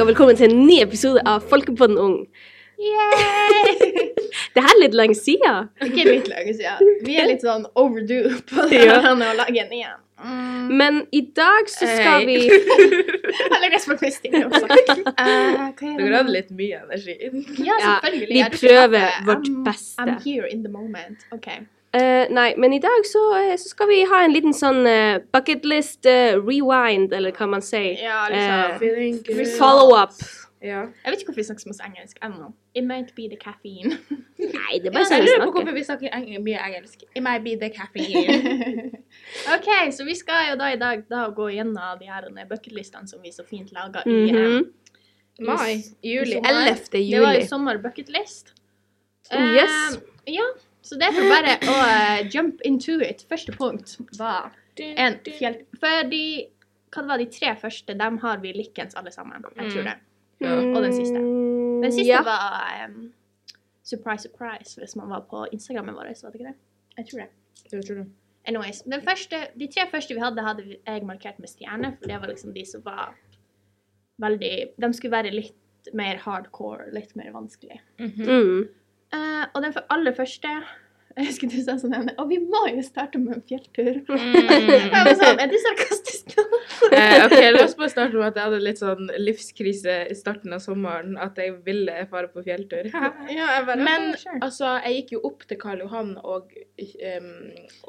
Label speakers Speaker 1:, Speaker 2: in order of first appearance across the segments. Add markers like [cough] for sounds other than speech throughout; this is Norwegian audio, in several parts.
Speaker 1: og velkommen til en ny episode av Folkepodden Ung. [laughs] Det her er litt lenge siden.
Speaker 2: Ikke litt lenge siden. Vi er litt sånn overdue på det
Speaker 1: Ja.
Speaker 2: her med å lage en igjen. Mm.
Speaker 1: Men i dag så skal
Speaker 3: Hei.
Speaker 1: vi
Speaker 2: [laughs] Jeg legger på kvisting
Speaker 1: [laughs]
Speaker 2: også. Eh, hva er det
Speaker 3: Dere
Speaker 2: nå?
Speaker 3: hadde litt mye energi.
Speaker 2: Ja,
Speaker 1: Ja,
Speaker 2: selvfølgelig.
Speaker 1: vi
Speaker 2: Jeg er ikke
Speaker 1: prøver
Speaker 2: kaffe.
Speaker 1: vårt
Speaker 2: I'm-
Speaker 1: beste.
Speaker 2: I'm here in the moment. OK.
Speaker 1: eh, Nei, men i dag så, eh, så skal vi ha en liten sånn eh, bucket list eh, rewind, eller hva man sier.
Speaker 2: Ja,
Speaker 1: liksom.
Speaker 2: liksom.
Speaker 3: Feeling good.
Speaker 2: Vi follow-
Speaker 1: Follow up.
Speaker 3: Ja.
Speaker 2: Jeg vet ikke hvorfor vi snakker så mye engelsk ennå. It might be the caffeine.
Speaker 1: Nei, det er
Speaker 3: Ja,
Speaker 1: bare sånn
Speaker 3: jeg
Speaker 1: vi
Speaker 3: lurer på
Speaker 1: snakker.
Speaker 3: hvorfor vi snakker eng mye engelsk. It might be the caffeine.
Speaker 1: [laughs]
Speaker 2: OK, så vi skal jo da i dag da gå gjennom de her eh, bucketlistene som vi så fint laga i eh,
Speaker 1: Mhm.
Speaker 3: Mai. Juli.
Speaker 2: Sommer.
Speaker 1: 11.
Speaker 2: Det var jo
Speaker 1: juli.
Speaker 2: sommer bucketlist.
Speaker 1: Oh, yes.
Speaker 2: ja, så det er for bare å eh, jump into it. Første punkt var en fjell... For de, hva det var de tre første, dem har vi likens alle sammen. Jeg tror det.
Speaker 3: Ja.
Speaker 2: Og den siste.
Speaker 1: Mm,
Speaker 2: Den siste
Speaker 1: ja.
Speaker 2: var em, surprise, surprise, hvis man var på Instagrammen vår, så var det ikke det? Jeg tror det.
Speaker 3: Det tror du.
Speaker 2: Anyways, den første, de tre første vi hadde, hadde jeg markert med stjerne, for det var liksom de som var veldig De skulle være litt mer hardcore, litt mer vanskelig.
Speaker 3: [laughs] Mhm.
Speaker 1: Mm.
Speaker 2: Eh, og den for aller første [laughs] Jeg husker du sa sånn Anne, Og vi må jo starte med en fjelltur. [laughs] Og jeg var sånn, Er du sarkastisk nå?
Speaker 3: Eh, ok, La oss bare starte med at jeg hadde litt sånn livskrise i starten av sommeren. At jeg ville fare på fjelltur.
Speaker 2: [laughs]
Speaker 3: [laughs]
Speaker 2: ja, jeg
Speaker 3: Men
Speaker 2: sure.
Speaker 3: altså, jeg gikk jo opp til Karl Johan og, em,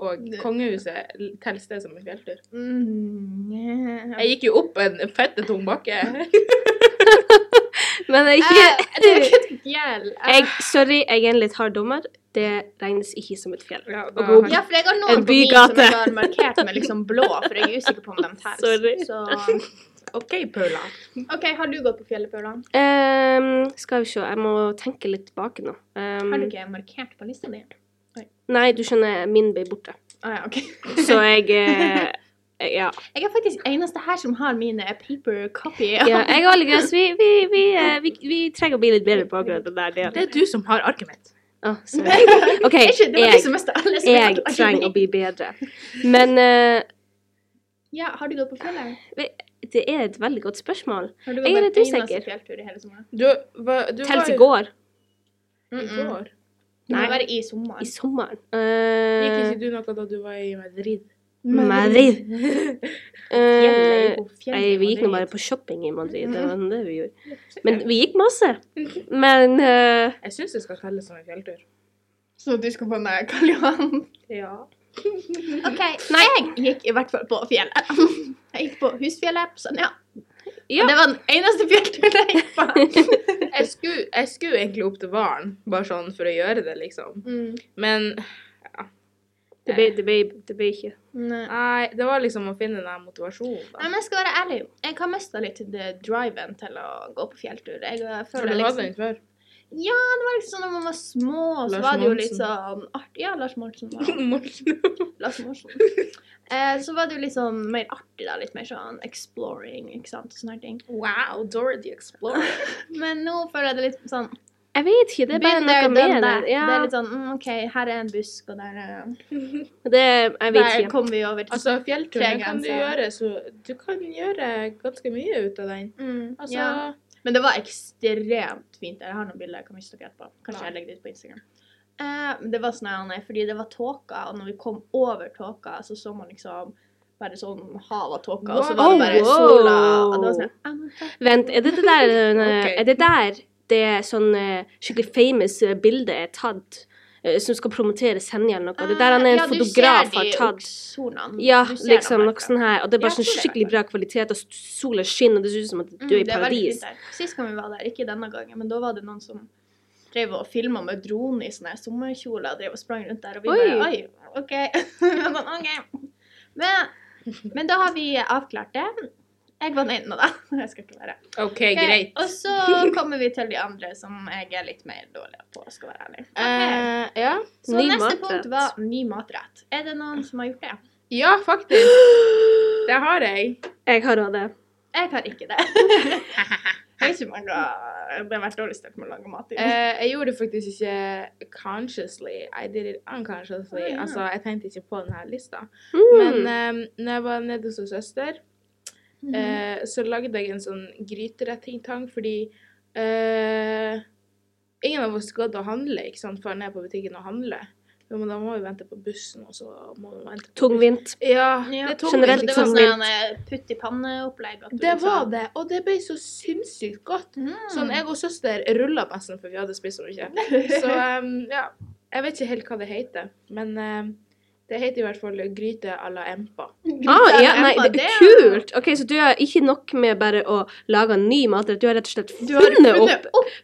Speaker 3: og kongehuset. Telles det som en fjelltur?
Speaker 2: mm, yeah.
Speaker 3: Jeg gikk jo opp en fette tung bakke.
Speaker 1: Men det er [laughs]
Speaker 2: Eh,
Speaker 1: ikke
Speaker 2: Det er ikke et fjell. Eh,
Speaker 1: [laughs] jeg, Sorry, jeg er en litt hard dommer. Det regnes ikke som et fjell.
Speaker 3: [laughs] Ja,
Speaker 1: Og god-
Speaker 2: Ja, for jeg har
Speaker 1: En
Speaker 2: noen på min som
Speaker 1: bygate.
Speaker 2: jeg har markert med liksom blå, for jeg er usikker på om de
Speaker 1: [laughs] Sorry.
Speaker 2: telles. Så
Speaker 3: OK, Paula.
Speaker 2: OK, har du gått på fjellet, Paula?
Speaker 1: Ehm, skal vi se, jeg må tenke litt tilbake nå. Ehm,
Speaker 2: Har du ikke markert på lista di?
Speaker 1: Nei, du skjønner, min ble borte.
Speaker 2: Ah, ja, ok.
Speaker 1: Så jeg eh, Ja.
Speaker 2: [laughs] Jeg er faktisk eneste her som har mine paper copy. [laughs]
Speaker 1: ja jeg og Allegres, vi, vi, vi, eh, vi, vi trenger å bli litt bedre på akkurat den der delen.
Speaker 3: Det er du som har arket mitt.
Speaker 2: [laughs]
Speaker 1: Å, sorry. OK,
Speaker 2: Det er ikke- det var
Speaker 1: jeg,
Speaker 2: liksom mest alle som
Speaker 1: jeg
Speaker 2: hadde-
Speaker 1: trenger å bli bedre. Men eh,
Speaker 2: Ja, har du gått på fjellet?
Speaker 1: det er et veldig godt spørsmål.
Speaker 2: Har du
Speaker 1: Jeg er
Speaker 2: gått på en
Speaker 1: litt
Speaker 2: eneste
Speaker 1: usikker.
Speaker 2: fjelltur i hele sommeren?
Speaker 3: Du, hva, du
Speaker 1: Telt i
Speaker 3: jo-
Speaker 1: går.
Speaker 3: I går.
Speaker 2: Det
Speaker 1: Nei.
Speaker 2: må være i sommeren.
Speaker 1: I sommeren.
Speaker 3: Gikk
Speaker 1: Eh,
Speaker 3: ikke du noe da du var i Madrid?
Speaker 1: Madrid.
Speaker 2: [laughs]
Speaker 1: Eh,
Speaker 2: Fjellet, jo, fjellet
Speaker 1: Nei,
Speaker 2: i
Speaker 1: vi gikk nå
Speaker 2: Madrid.
Speaker 1: bare på shopping i Madrid. Det var det vi gjorde. Men vi gikk masse. Men eh,
Speaker 3: Jeg syns det skal telles som en fjelltur.
Speaker 2: Så du skal på en eh, Karl Johan?
Speaker 3: Ja.
Speaker 2: OK. Jeg gikk i hvert fall på fjellet. Jeg gikk på Husfjellet på Senja.
Speaker 1: Ja.
Speaker 2: Det var den eneste fjellturen jeg gikk på.
Speaker 3: Jeg skulle, jeg skulle egentlig opp til Varen, bare sånn for å gjøre det, liksom.
Speaker 1: Mm.
Speaker 3: Men
Speaker 1: det ble, det ble, det ble ikke
Speaker 2: Nei.
Speaker 3: nei, det var liksom å finne den motivasjonen,
Speaker 2: Nei,
Speaker 3: da.
Speaker 2: men jeg skal være ærlig. Jeg har mista litt the driven til å gå på fjelltur. Jeg eh,
Speaker 3: For
Speaker 2: føler
Speaker 3: du hadde
Speaker 2: liksom
Speaker 3: den før.
Speaker 2: Ja, det var liksom når man var små, så
Speaker 3: Lars
Speaker 2: var det jo
Speaker 3: Monsen.
Speaker 2: litt sånn artig. Ja, Lars Monsen. var-
Speaker 3: [laughs] Morten.
Speaker 2: Lars Monsen.
Speaker 1: [laughs]
Speaker 2: Eh, så var det jo litt sånn mer artig, da. Litt mer sånn exploring, ikke sant. Sånne her ting.
Speaker 3: wow, Dora the Explorer.
Speaker 2: Men nå føler jeg det litt sånn
Speaker 1: Jeg vet ikke. Det er bare
Speaker 2: begynn
Speaker 1: noe
Speaker 2: der, den
Speaker 1: med det.
Speaker 2: der.
Speaker 1: Ja,
Speaker 2: Det er litt sånn mm, OK, her er en busk, og der, eh,
Speaker 1: det Jeg vet
Speaker 2: der
Speaker 1: ikke.
Speaker 2: kom vi over til
Speaker 3: Altså, fjellturen
Speaker 2: Tre
Speaker 3: kan du
Speaker 2: grenser.
Speaker 3: gjøre så Du kan gjøre ganske mye ut av den.
Speaker 2: mm,
Speaker 3: Altså
Speaker 2: ja. Men det var ekstremt fint. Jeg har noen bilder jeg kan vise dere etterpå. Kanskje
Speaker 3: Nei.
Speaker 2: jeg legger det ut på Instagram. Eh, men det var sånn her, nei, fordi det var tåka, og når vi kom over tåka, så så man liksom bare sånn hav av tåka, og så
Speaker 1: Wow.
Speaker 2: var det bare
Speaker 1: Oh, wow.
Speaker 2: sola og det var sånn, ah, men faen.
Speaker 1: Vent, er det det
Speaker 2: [laughs]
Speaker 1: der eh,
Speaker 3: Ok.
Speaker 1: Er det der det sånn eh, skikkelig famous eh, bilde er tatt, eh, som skal promotere Senja eller noe? Det der han er en
Speaker 2: Ah, Ja, du
Speaker 1: fotograf
Speaker 2: ser
Speaker 1: har
Speaker 2: de
Speaker 1: tatt.
Speaker 2: oksonene.
Speaker 1: Ja,
Speaker 2: Du ser dem
Speaker 1: liksom noe
Speaker 2: herfra.
Speaker 1: sånn her. Og det er
Speaker 2: Ja,
Speaker 1: bare sånn
Speaker 2: jeg tror det er
Speaker 1: skikkelig bra kvalitet, og s- sola skinner, og det ser ut som at du er i
Speaker 2: Mm, det veldig
Speaker 1: paradis.
Speaker 2: fint der. Sist gang vi var der, ikke denne gangen, men da var det noen som drev og filma med drone i sånne her sommerkjoler og drev og sprang rundt der, og vi
Speaker 1: Oi.
Speaker 2: bare Oi, OK. [laughs] Vi var sånn, «Ok». men, men da har vi avklart det. Jeg var den ene av dem. [laughs] Jeg skal ikke være
Speaker 3: OK,
Speaker 2: Ok,
Speaker 3: greit.
Speaker 2: Og så kommer vi til de andre som jeg er litt mer dårlig på, skal være ærlig. Ok.
Speaker 3: Eh, ja.
Speaker 2: Så
Speaker 1: ny
Speaker 2: neste
Speaker 1: matrett.
Speaker 2: punkt var ny matrett. Er det noen som har gjort det?
Speaker 3: ja, faktisk. Det har jeg.
Speaker 1: Jeg har òg det.
Speaker 2: Jeg har [laughs] ikke det. Jeg vet ikke om jeg har det har vært dårlig stelt med å lage mat i år.
Speaker 3: Eh, jeg gjorde det faktisk ikke consciously. I did it unconsciously.
Speaker 2: Ah, ja.
Speaker 3: Altså, jeg tenkte ikke på denne lista.
Speaker 1: Mm.
Speaker 3: Men eh, når jeg var nede hos en søster,
Speaker 2: Mhm.
Speaker 3: Eh, så lagde jeg en sånn gryterettingtang fordi eh, ingen av oss gadd å handle ikke sant, før ned på butikken og handle. Jo, Men da må vi vente på bussen, og så må vi vente på
Speaker 1: Tungvint.
Speaker 3: bussen. Ja,
Speaker 2: Mm. Ja.
Speaker 3: det er tungvint.
Speaker 1: Generelt
Speaker 2: det var
Speaker 1: sånn
Speaker 2: sånn eh, putt i panne-opplegg. at du
Speaker 3: Det
Speaker 2: liksom-
Speaker 3: var det, og det ble så sinnssykt godt.
Speaker 2: Mm.
Speaker 3: Sånn, jeg og søster rulla nesten, for vi hadde spist så mye. Så em, ja, jeg vet ikke helt hva det heter, men em, det heter i hvert fall gryte à la empa.
Speaker 1: Ah, ja, nei,
Speaker 2: Emma,
Speaker 1: det er
Speaker 2: jo-
Speaker 1: kult! Ok, Så du har ikke nok med bare å lage ny matrett, du har rett og slett
Speaker 2: Du har
Speaker 1: funnet opp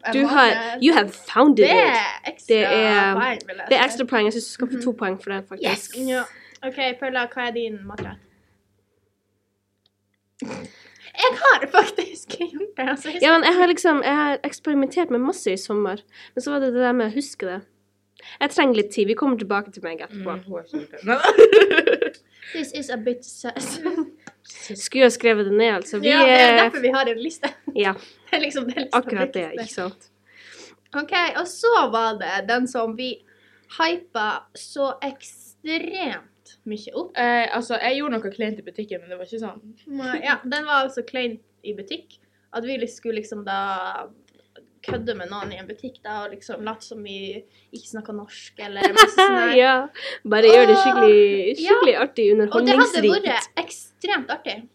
Speaker 2: en
Speaker 1: Du har
Speaker 2: måte.
Speaker 1: You have founded
Speaker 2: Det
Speaker 1: it!
Speaker 2: er ekstra
Speaker 1: Det er-
Speaker 2: poeng, vil jeg
Speaker 1: Det er
Speaker 2: si.
Speaker 1: ekstra poeng. Jeg syns du skal få to poeng for det, faktisk.
Speaker 2: Ja. OK, Paula, hva er din matrett? Jeg har faktisk gjort det. Altså, jeg
Speaker 1: Ja, men jeg har liksom Jeg har eksperimentert med masse i sommer, men så var det det der med å huske det. Jeg trenger litt tid. Vi kommer tilbake til meg
Speaker 3: Mm,
Speaker 1: etterpå.
Speaker 3: hun har ikke gjort det. Neida.
Speaker 2: This is a bit sus.
Speaker 1: [laughs] Skulle jo ha skrevet det ned, altså. Vi
Speaker 2: ja, det er
Speaker 1: er
Speaker 2: derfor vi har en liste.
Speaker 1: Ja,
Speaker 2: [laughs] Det er liksom det lista
Speaker 1: akkurat det,
Speaker 2: viktigste.
Speaker 1: ikke sant?
Speaker 2: OK, og så var det den som vi hypa så ekstremt mye opp.
Speaker 3: Eh, altså, jeg gjorde noe kleint i butikken, men det var ikke sånn.
Speaker 2: Ja, den var altså klein i butikk. At vi liksom skulle liksom da kødde med noen i en butikk da, og liksom late som vi ikke snakka norsk eller masse sånn
Speaker 1: [laughs]
Speaker 2: her.
Speaker 1: Ja. Bare gjør det skikkelig,
Speaker 2: Ja.
Speaker 1: skikkelig artig,
Speaker 2: Og det hadde
Speaker 1: underholdningsrikt.
Speaker 2: vært ekstremt artig.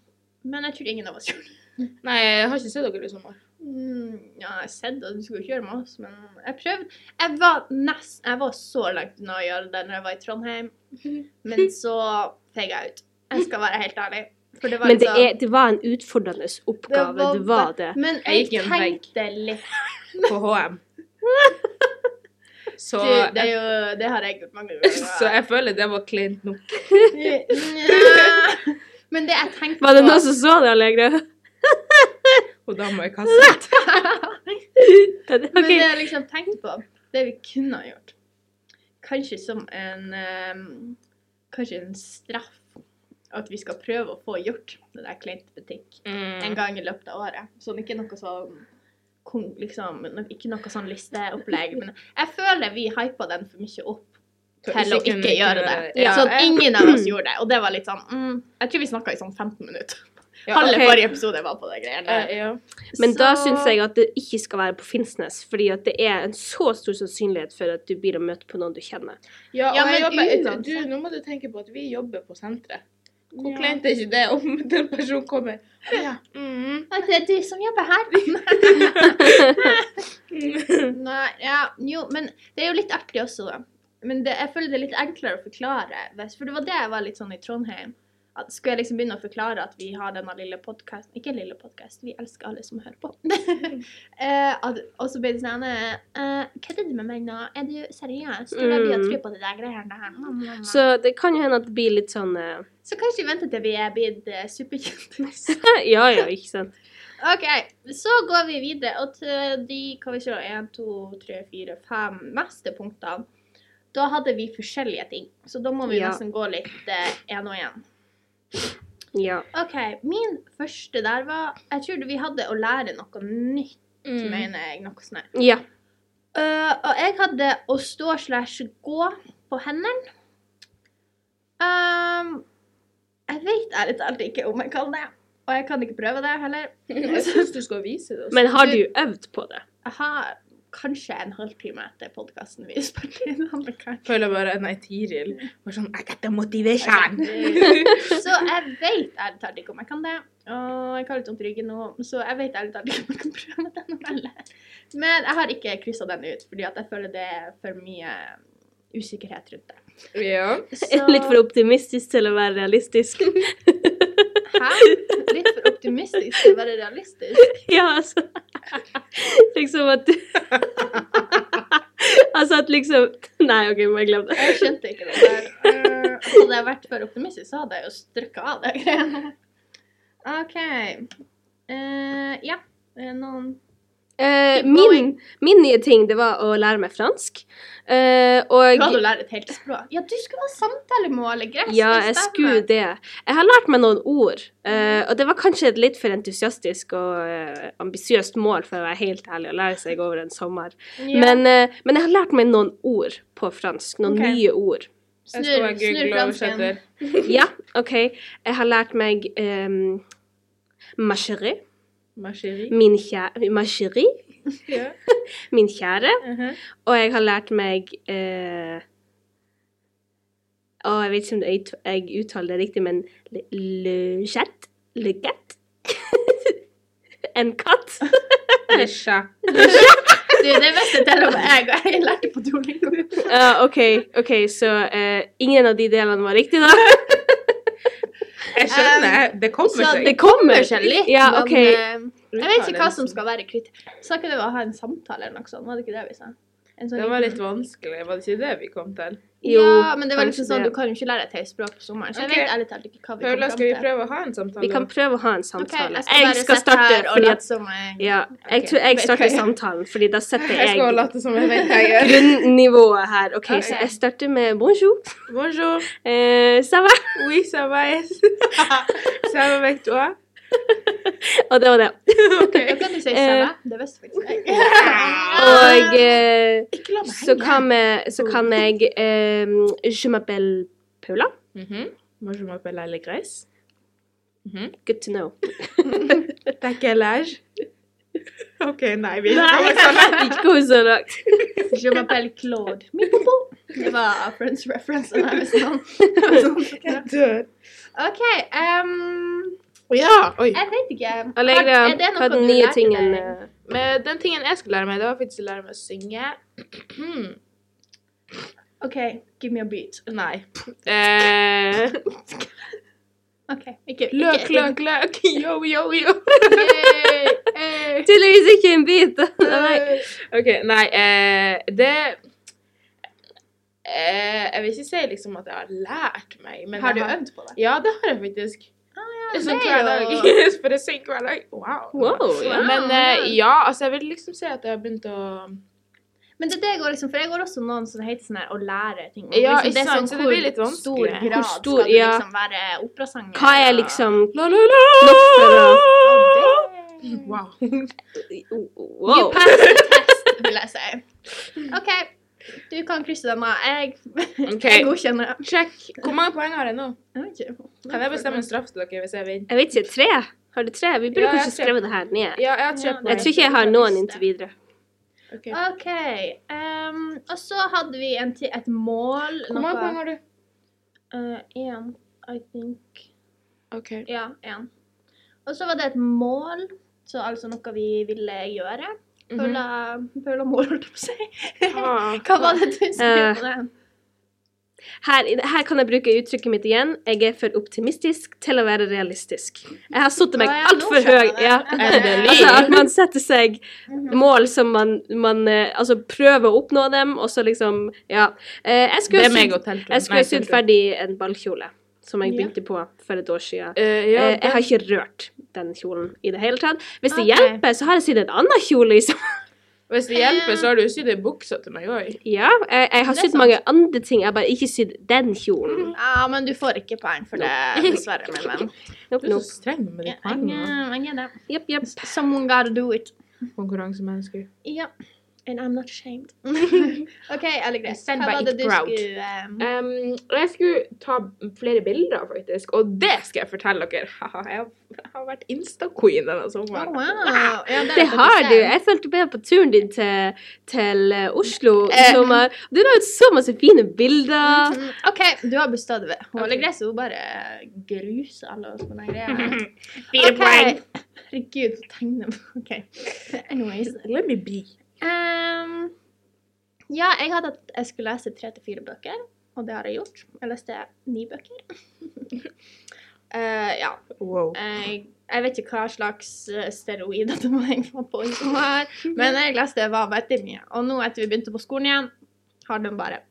Speaker 2: Men jeg tror ingen av oss gjorde det.
Speaker 3: Nei, jeg har ikke sett dere i sommer.
Speaker 2: Mm, ja, jeg har sett det, du skulle jo ikke gjøre det med oss, men jeg prøvde. Jeg var nesten Jeg var så langt unna å gjøre det når jeg var i Trondheim,
Speaker 1: [laughs]
Speaker 2: men så feig jeg ut. Jeg skal være helt ærlig. For det var
Speaker 1: Men det,
Speaker 2: liksom
Speaker 1: er, det var en utfordrende oppgave. Det var det.
Speaker 2: Men
Speaker 3: Jeg
Speaker 2: jeg
Speaker 3: gikk i en vegg.
Speaker 2: tenkte litt
Speaker 3: På HM. Så,
Speaker 2: du, eh, det, er
Speaker 3: jeg,
Speaker 2: jo, det har jeg
Speaker 3: [laughs]
Speaker 2: gjort mange ganger.
Speaker 3: så jeg føler det var kleint nok.
Speaker 2: Nja. Men det jeg tenkte
Speaker 1: Var det noen som så det, Allegra? [laughs]
Speaker 3: Og da må jeg kaste ut.
Speaker 2: [laughs] Men det
Speaker 1: Ok,
Speaker 2: jeg liksom tenkte på, det vi kunne ha gjort Kanskje som en ehm, Kanskje en straff. At vi skal prøve å få gjort det der kleinte butikk
Speaker 3: Mm.
Speaker 2: en gang i løpet av året. Sånn ikke noe sånn kon- liksom, Ikke noe sånn listeopplegg. Men jeg føler vi hypa den for mye opp til å ikke gjøre det.
Speaker 3: Ja,
Speaker 2: sånn
Speaker 3: jeg-
Speaker 2: ingen av oss gjorde det. Og det var litt sånn mm, Jeg tror vi snakka i sånn 15 minutter.
Speaker 3: Ja,
Speaker 2: Halve
Speaker 1: ok.
Speaker 2: forrige episode var på det greiene.
Speaker 3: Eh, ja.
Speaker 1: Men da
Speaker 2: Så-
Speaker 1: syns jeg at det ikke skal være på Finnsnes, fordi at det er en så stor sannsynlighet for at du blir å møte på noen du kjenner.
Speaker 3: Ja, og
Speaker 2: Ja,
Speaker 3: jeg
Speaker 2: men
Speaker 3: jobber, eh,
Speaker 2: uansett.
Speaker 3: du, nå må du tenke på at vi jobber på senteret. Hvor
Speaker 2: Ja.
Speaker 3: kleint er ikke det om [laughs] den personen kommer? Å Ja. Mm.
Speaker 2: Nei, Det er du som jobber her. Mm. Nei, ja, jo, men det er jo litt artig også, da. Men det, jeg føler det er litt enklere å forklare. hvis- For det var det jeg var litt sånn i Trondheim. At skulle jeg liksom begynne å forklare at vi har denne lille podkasten Ikke lille podkast, vi elsker alle som hører på. Eh, at, og så ble det sånn eh, eh, Kødder du med meg nå? Er du seriøs? Tror jeg vi har tro på det der greiene her? Mm, mm, mm.
Speaker 1: Så det kan jo hende at det blir litt sånn eh, [laughs]
Speaker 2: Så kanskje vi venter til vi er blitt eh, superkjendiser.
Speaker 1: Ja ja, ikke sant?
Speaker 2: OK, så går vi videre. Og til de kan vi se, én, to, tre, fire, fem neste punktene. Da hadde vi forskjellige ting, så da må vi
Speaker 1: Ja.
Speaker 2: nesten gå litt eh, en og en.
Speaker 1: Ja.
Speaker 2: OK, min første der var Jeg tror vi hadde å lære noe nytt,
Speaker 3: Mm.
Speaker 2: mener jeg. noe sånn her.
Speaker 1: ja.
Speaker 2: Eh, og jeg hadde å stå slash gå på hendene. Ehm, jeg vet ærlig talt ikke om jeg kan det, og jeg kan ikke prøve det heller.
Speaker 3: Jeg syns du skal vise det. altså. også.
Speaker 1: Men har du øvd på det?
Speaker 2: Jeg har kanskje en halvtime etter podkasten vi spilte [laughs] inn. eller hva.
Speaker 3: føler bare Nei, Tiril var sånn I got the motivation.
Speaker 2: [laughs] Så jeg vet ærlig talt ikke om jeg kan det. Og jeg har litt vondt i ryggen nå, så jeg vet ærlig talt ikke om jeg kan prøve den heller. Men jeg har ikke kryssa den ut, fordi at jeg føler det er for mye usikkerhet
Speaker 1: [laughs]
Speaker 2: rundt det.
Speaker 3: ja.
Speaker 2: Så-
Speaker 1: Litt for optimistisk til å være [laughs] realistisk.
Speaker 2: Hæ? Litt for optimistisk til å være realistisk.
Speaker 1: Ja, altså [laughs] Liksom at du [laughs] Altså at liksom Nei, OK, må jeg glemme det.
Speaker 2: Jeg skjønte ikke det der. Eh, Hadde jeg vært for optimistisk, så hadde jeg jo strukka av det greiene. OK. Eh, ja. Eh, Noen
Speaker 1: Eh, min, min nye ting, det var å lære meg fransk. Eh, og
Speaker 2: Skal du lære et helt språk? Ja, du skulle ha samtalemål. Gress,
Speaker 1: Ja, jeg skulle det. Jeg har lært meg noen ord, eh, og det var kanskje et litt for entusiastisk og uh, ambisiøst mål, for å være helt ærlig, å lære seg over en sommer. Men, eh, men jeg har lært meg noen ord på fransk. Noen
Speaker 2: Ok.
Speaker 1: nye ord. [laughs]
Speaker 3: Jeg skal være Google-oversetter.
Speaker 1: Ja, OK. Jeg har lært meg ehm, eh, Ma chérie.
Speaker 3: Ma chérie.
Speaker 1: Min kjære, ma chérie.
Speaker 2: Mm.
Speaker 3: Ja.
Speaker 1: Min kjære.
Speaker 3: Mhm.
Speaker 1: Og jeg har lært meg eh, Å, jeg vet ikke om jeg, jeg uttaler det riktig, men le- le chat? Le cat? [laughs] en katt?
Speaker 3: Le chat.
Speaker 2: Du, det visste til og med jeg, og jeg lærte på Duolingo.
Speaker 1: Ja, OK, ok, så eh, ingen av de delene var riktig, da.
Speaker 3: Jeg skjønner. Det kommer
Speaker 2: Um, så
Speaker 3: seg.
Speaker 1: Det kommer
Speaker 2: Hører seg litt,
Speaker 1: Ja,
Speaker 2: men,
Speaker 1: OK.
Speaker 2: eh, jeg vet ikke hva som skal være kritikk. Sa ikke du å ha en samtale eller noe sånt? Var det ikke det vi sa? En sånn
Speaker 3: Det var
Speaker 2: liten-
Speaker 3: litt vanskelig. Var det ikke det vi kom til?
Speaker 1: Jo,
Speaker 2: ja, men det var
Speaker 1: kanskje
Speaker 2: liksom sånn,
Speaker 1: det.
Speaker 2: du kan jo ikke lære et helt språk på sommeren, så jeg
Speaker 3: Ok.
Speaker 2: vet ærlig talt ikke hva vi
Speaker 3: Paula,
Speaker 2: kommer
Speaker 3: skal vi
Speaker 2: fram til.
Speaker 3: prøve å ha en samtale?
Speaker 1: Vi kan prøve å ha en
Speaker 2: Ok,
Speaker 1: samtale.
Speaker 2: jeg skal bare sitte her og
Speaker 1: fordi at-
Speaker 2: late som jeg
Speaker 1: Ja, jeg
Speaker 2: Ok,
Speaker 1: tror jeg
Speaker 2: vet
Speaker 1: starter
Speaker 2: hva jeg-
Speaker 1: samtalen, fordi da setter
Speaker 3: Jeg skal
Speaker 1: jeg
Speaker 3: late som jeg vet hva jeg
Speaker 2: [laughs]
Speaker 3: gjør.
Speaker 1: grunnivået her. OK, så
Speaker 2: Ok.
Speaker 1: jeg starter med bonjour.
Speaker 3: Bonjour.
Speaker 1: Eh, ça va?
Speaker 3: Oui, ça va.
Speaker 2: [laughs]
Speaker 3: yes. Ça va avec toi?
Speaker 1: Og det var det.
Speaker 2: Da kan du si
Speaker 1: Eh.
Speaker 2: Sara. Det visste faktisk jeg.
Speaker 1: Og eh,
Speaker 2: Ikke la meg
Speaker 1: så kan, vi, så kan jeg eh, Je m'appelle Paula.
Speaker 3: Mhm. Moi, je m'appelle Allegresse. Mhm.
Speaker 1: Good to know.
Speaker 3: T'as quel âge? OK, nei, vi
Speaker 2: Nei.
Speaker 1: Ikke gå så langt.
Speaker 2: Je m'appelle Claude. Mi popo. Det var Friends reference. og jeg visste noen.
Speaker 3: Jeg
Speaker 2: [laughs]
Speaker 3: dør.
Speaker 2: OK. ehm,
Speaker 3: Ja, oi.
Speaker 2: jeg vet ikke.
Speaker 1: Allegra,
Speaker 2: Er det noe
Speaker 1: hva er den
Speaker 2: du
Speaker 1: nye
Speaker 2: lærte
Speaker 1: tingen
Speaker 2: deg?
Speaker 1: eh,
Speaker 3: Men den tingen jeg skulle lære meg, det var faktisk å lære meg å synge.
Speaker 2: OK, give me a beat.
Speaker 3: [clears throat] Nei. Eh,
Speaker 2: OK. Ikke
Speaker 3: løk,
Speaker 2: ikke-
Speaker 3: løk, [laughs] løk. Yo, yo, yo.
Speaker 2: Yay, yay.
Speaker 1: [laughs] Tydeligvis ikke en bit. [laughs] Nei.
Speaker 3: [laughs] OK, nei, eh, det eh, Jeg vil ikke si liksom at jeg har lært meg, men
Speaker 2: Har du
Speaker 3: jeg har,
Speaker 2: øvd på det?
Speaker 3: Ja, det har jeg faktisk.
Speaker 2: ja,
Speaker 3: Sånn
Speaker 2: det
Speaker 3: hver
Speaker 2: er
Speaker 3: [laughs] dag.
Speaker 2: jo-
Speaker 3: For jeg synger hver dag. Wow.
Speaker 1: Wow, ja.
Speaker 2: Wow.
Speaker 3: Men eh, ja, altså, jeg vil liksom si at jeg har begynt å
Speaker 2: Men det er det jeg går liksom, for jeg går også noen som heter sånn her å lære ting. Og
Speaker 3: Ja,
Speaker 2: liksom,
Speaker 3: ikke sant, så det blir litt vanskelig.
Speaker 2: stor
Speaker 3: Hvor
Speaker 2: grad
Speaker 1: stor-
Speaker 2: skal du
Speaker 1: ja.
Speaker 2: liksom være operasanger?
Speaker 1: Hva er liksom
Speaker 3: La, la, la.
Speaker 1: Nok for å-
Speaker 2: Wow.
Speaker 3: Wow.
Speaker 2: You
Speaker 1: Wow.
Speaker 2: passed the test, vil jeg si. OK, du kan krysse den av. Jeg,
Speaker 3: OK.
Speaker 2: jeg godkjenner.
Speaker 3: Check. Hvor mange poeng har jeg nå?
Speaker 2: Jeg vet ikke.
Speaker 3: Kan jeg bestemme en straff til dere hvis jeg vinner?
Speaker 1: Jeg vet ikke. Tre? Har du tre? Vi burde
Speaker 3: Ja, jeg har
Speaker 1: kanskje
Speaker 3: tre.
Speaker 1: skrevet det her ned.
Speaker 3: Ja, Eh, jeg har tre
Speaker 2: Ja,
Speaker 3: poeng.
Speaker 1: Jeg tror ikke jeg har noen inntil videre.
Speaker 3: Ok.
Speaker 2: OK. ehm, og så hadde vi en til, et mål.
Speaker 3: Hvor mange poeng har du?
Speaker 2: Én, I think.
Speaker 3: OK.
Speaker 2: Ja, én. Og så var det et mål, så altså noe vi ville gjøre.
Speaker 3: Mhm.
Speaker 2: Paula, Paula mål, holdt jeg på å si. Hva var det du
Speaker 3: Eh,
Speaker 2: skrev på den?
Speaker 1: Her, her kan jeg bruke uttrykket mitt igjen. Jeg er for optimistisk til å være realistisk. Jeg har satt meg
Speaker 2: Å, ja, nå
Speaker 1: altfor høy.
Speaker 2: skjønner jeg det.
Speaker 1: Ja.
Speaker 3: [laughs] Endelig.
Speaker 1: Altså at man setter seg
Speaker 2: Mhm.
Speaker 1: mål som man, man eh, Altså prøver å oppnå dem, og så liksom Ja. Eh, Jeg skulle
Speaker 3: Det
Speaker 1: ha
Speaker 3: er meg
Speaker 1: sydd-
Speaker 3: og teltrom.
Speaker 1: jeg skulle ha
Speaker 3: Nei,
Speaker 1: sydd
Speaker 3: teltrom.
Speaker 1: ferdig en ballkjole som jeg
Speaker 2: Ja.
Speaker 1: begynte på for et år siden.
Speaker 3: Eh, ja,
Speaker 1: Eh, Jeg har
Speaker 3: den-
Speaker 1: ikke rørt den kjolen i det hele tatt. Hvis det
Speaker 2: Ok.
Speaker 1: hjelper, så har jeg sydd en annen kjole liksom. i sommer.
Speaker 3: Hvis det hjelper, så har du sydd ei bukse til meg òg.
Speaker 1: Ja, jeg, jeg har
Speaker 2: Det er
Speaker 1: sydd
Speaker 2: sant. Mm.
Speaker 1: mange andre ting. Jeg har bare ikke sydd den kjolen.
Speaker 2: Ja, men du får ikke poeng for det, dessverre, min venn.
Speaker 1: Nope,
Speaker 3: Du er så
Speaker 1: nope.
Speaker 3: streng med de
Speaker 2: Ja,
Speaker 3: poengene.
Speaker 2: jeg er det.
Speaker 1: Jepp, jepp.
Speaker 2: Someone gotta do it.
Speaker 3: Konkurransemennesker.
Speaker 2: Ja. And I'm not ashamed. [laughs] OK, Ellegres.
Speaker 3: Stand
Speaker 2: Hva
Speaker 3: by
Speaker 2: var det
Speaker 3: it
Speaker 2: du
Speaker 3: proud.
Speaker 2: skulle um,
Speaker 3: Um, og jeg skulle ta flere bilder, faktisk. Og det skal jeg fortelle dere. [laughs] Haha, jeg har- jeg har vært Insta-queen denne
Speaker 2: Oh,
Speaker 3: sommeren.
Speaker 2: wow. Ja, det,
Speaker 1: Det har du.
Speaker 2: Jeg
Speaker 1: Jeg fulgte med på turen din til, til eh, Oslo i
Speaker 3: Eh.
Speaker 1: sommer. Du la ut så masse fine bilder.
Speaker 2: Mm, OK, du har bestått det. Hun Ellegres hun bare gruser alle oss på den greia.
Speaker 3: Fire
Speaker 2: Ok.
Speaker 3: poeng.
Speaker 2: Herregud, hun tegner OK. Anyways.
Speaker 3: Let me be.
Speaker 2: Um, ja, jeg hadde at jeg skulle lese tre til fire bøker, og det har jeg gjort. Jeg leste ni bøker. [laughs] Eh, ja.
Speaker 3: Wow.
Speaker 2: Jeg, jeg vet ikke hva slags eh, steroider det var jeg var på i sommer, men jeg leste hva veldig mye. Og nå etter vi begynte på skolen igjen, har den bare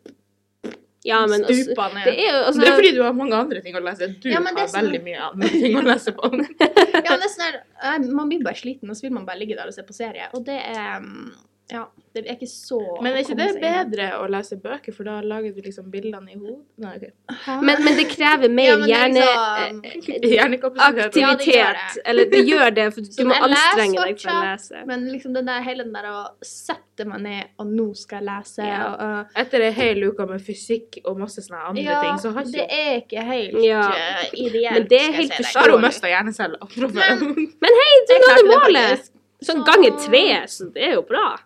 Speaker 1: Ja, men altså,
Speaker 2: stupa
Speaker 1: det
Speaker 2: ned.
Speaker 1: er jo altså
Speaker 3: Det er fordi du har mange andre ting å lese. Du
Speaker 2: Ja, men det
Speaker 3: har
Speaker 2: er sånn-
Speaker 3: veldig mye andre ting å lese på.
Speaker 2: Ja, men det er sånn her, eh, man blir bare sliten, og så vil man bare ligge der og se på serie. Og det er mm, Ja. Det er ikke så
Speaker 3: Men er
Speaker 2: å
Speaker 3: ikke
Speaker 2: komme
Speaker 3: det
Speaker 2: seg inn.
Speaker 3: bedre å lese bøker, for da lager du liksom bildene i hodet? Nei, ok.
Speaker 2: Hæ?
Speaker 1: Men, men det krever mer
Speaker 2: Ja, men det er
Speaker 1: hjerne...
Speaker 2: liksom-
Speaker 1: eh,
Speaker 3: Hjernekapasitet.
Speaker 2: Ja, det gjør
Speaker 1: Aktivitet.
Speaker 2: det.
Speaker 1: [laughs] Eller det gjør det, for
Speaker 2: Så
Speaker 1: du må
Speaker 2: jeg
Speaker 1: anstrenge
Speaker 2: leser
Speaker 1: deg for å lese.
Speaker 2: Men liksom den der, hele den der å sette meg ned, og nå skal jeg lese
Speaker 1: Ja.
Speaker 2: og, og,
Speaker 3: Etter ei hel uke med fysikk og masse sånne andre
Speaker 2: Ja,
Speaker 3: ting, så har
Speaker 2: det
Speaker 3: ikke
Speaker 2: er ikke helt
Speaker 1: Ja.
Speaker 2: eh, ideelt.
Speaker 1: Men det er
Speaker 2: skal jeg
Speaker 1: helt
Speaker 2: si deg.
Speaker 3: Da har hun
Speaker 1: dårlig.
Speaker 3: mista hjernecella. [laughs]
Speaker 2: Men-
Speaker 1: Hei, du
Speaker 2: Jeg klarte
Speaker 1: nådde
Speaker 2: det
Speaker 1: målet!
Speaker 2: faktisk.
Speaker 1: Sånn
Speaker 2: Så-
Speaker 1: ganger tre, så det er jo bra.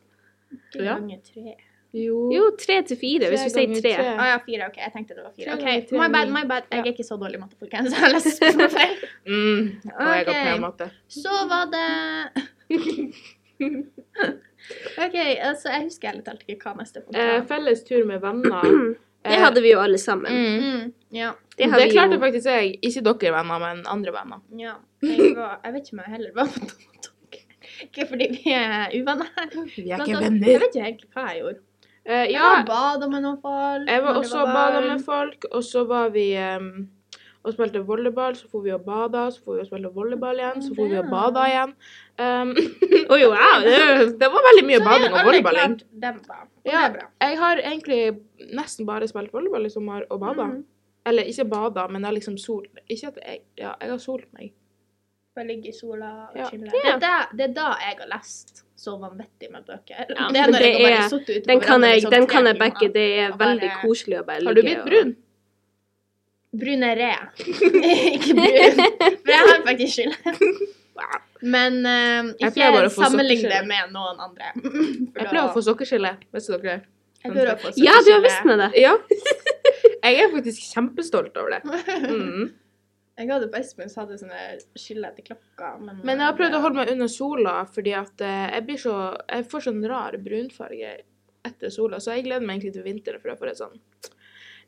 Speaker 2: Tre
Speaker 3: Ja.
Speaker 2: ganger tre.
Speaker 1: Jo, tre til fire, hvis vi
Speaker 3: Tre
Speaker 1: sier [laughs] tre.
Speaker 3: ganger
Speaker 2: Å ja, fire. OK, jeg tenkte det var fire.
Speaker 3: Tre ganger
Speaker 2: Ok,
Speaker 3: tre
Speaker 2: My bad,
Speaker 3: er ni.
Speaker 2: my bad. Jeg er ikke så dårlig i matte, folkens. [laughs]
Speaker 3: Mm, og jeg har
Speaker 2: Ok.
Speaker 3: pen matte.
Speaker 2: Så var det OK, altså, jeg husker ærlig talt ikke hva neste punkt
Speaker 3: Eh,
Speaker 2: var.
Speaker 3: felles tur med venner. [clears throat]
Speaker 1: Det hadde vi jo alle sammen.
Speaker 3: mm.
Speaker 2: Mm, ja.
Speaker 1: Eh, Det
Speaker 3: Det,
Speaker 1: har vi
Speaker 3: klarte
Speaker 1: jo.
Speaker 3: faktisk jeg. Ikke dere venner, men andre venner.
Speaker 2: Ja. Jeg, var, jeg vet ikke om jeg heller var på tomatokk. Ikke fordi vi er uvenner.
Speaker 3: Vi
Speaker 2: Blant annet- Jeg vet ikke egentlig hva jeg gjorde.
Speaker 3: Eh,
Speaker 2: Jeg
Speaker 3: ja,
Speaker 2: var og bada med noen folk.
Speaker 3: jeg
Speaker 2: når
Speaker 3: var
Speaker 2: det
Speaker 3: også og bada
Speaker 2: varmt.
Speaker 3: med folk, og så var vi ehm, og spilte volleyball, så for vi og bada, så for vi og spilte volleyball igjen, så for vi og bada igjen. [laughs] Ehm,
Speaker 1: Oi, wow, det er jo-
Speaker 3: det var veldig mye
Speaker 2: Så vi
Speaker 3: bading
Speaker 2: har
Speaker 3: og
Speaker 2: alle
Speaker 3: volleyball. egentlig.
Speaker 2: klart Den var. Og
Speaker 3: Ja.
Speaker 2: det er bra.
Speaker 3: Jeg har egentlig nesten bare spilt volleyball i sommer og bada.
Speaker 2: Mhm.
Speaker 3: Eller ikke bada, men jeg har liksom sol... Ikke at jeg Ja, jeg har solt meg.
Speaker 2: Bare ligge i sola og
Speaker 3: Ja.
Speaker 2: chille. Det,
Speaker 1: Ja.
Speaker 2: er da, det er da jeg har lest så vanvittig med bøker.
Speaker 1: Ja,
Speaker 2: det
Speaker 1: men
Speaker 2: er når
Speaker 1: det
Speaker 2: jeg har
Speaker 1: er-
Speaker 2: bare sittet ute på
Speaker 1: Den kan
Speaker 2: verandaen i
Speaker 1: jeg,
Speaker 2: sånn
Speaker 1: den
Speaker 2: tre
Speaker 1: kan jeg
Speaker 2: timer.
Speaker 1: backe. Det er
Speaker 2: Og bare-
Speaker 1: veldig koselig å bare ligge
Speaker 3: Har du blitt
Speaker 1: og-
Speaker 3: brun?
Speaker 2: Brun er red. [laughs] Ikke brun. For jeg har faktisk skylda. Men eh,
Speaker 3: Jeg
Speaker 2: ikke
Speaker 3: pleier bare å få
Speaker 2: sammenlign det
Speaker 3: sokkeskille.
Speaker 2: med noen andre. [laughs]
Speaker 3: Jeg pleier å få sokkeskille. Visste dere det?
Speaker 2: Jeg pleier å få
Speaker 1: Ja, du har
Speaker 2: sokkeskille.
Speaker 1: visst med det.
Speaker 3: Ja. [laughs] Jeg er faktisk kjempestolt over det. Mm.
Speaker 2: [laughs] Jeg hadde på Espen så hadde jeg sånne skille etter klokka. Men,
Speaker 3: Men jeg har prøvd å holde meg under sola, fordi at eh, jeg, blir så, jeg får sånn rar brunfarge etter sola. Så jeg gleder meg egentlig til vinteren, for jeg får et sånn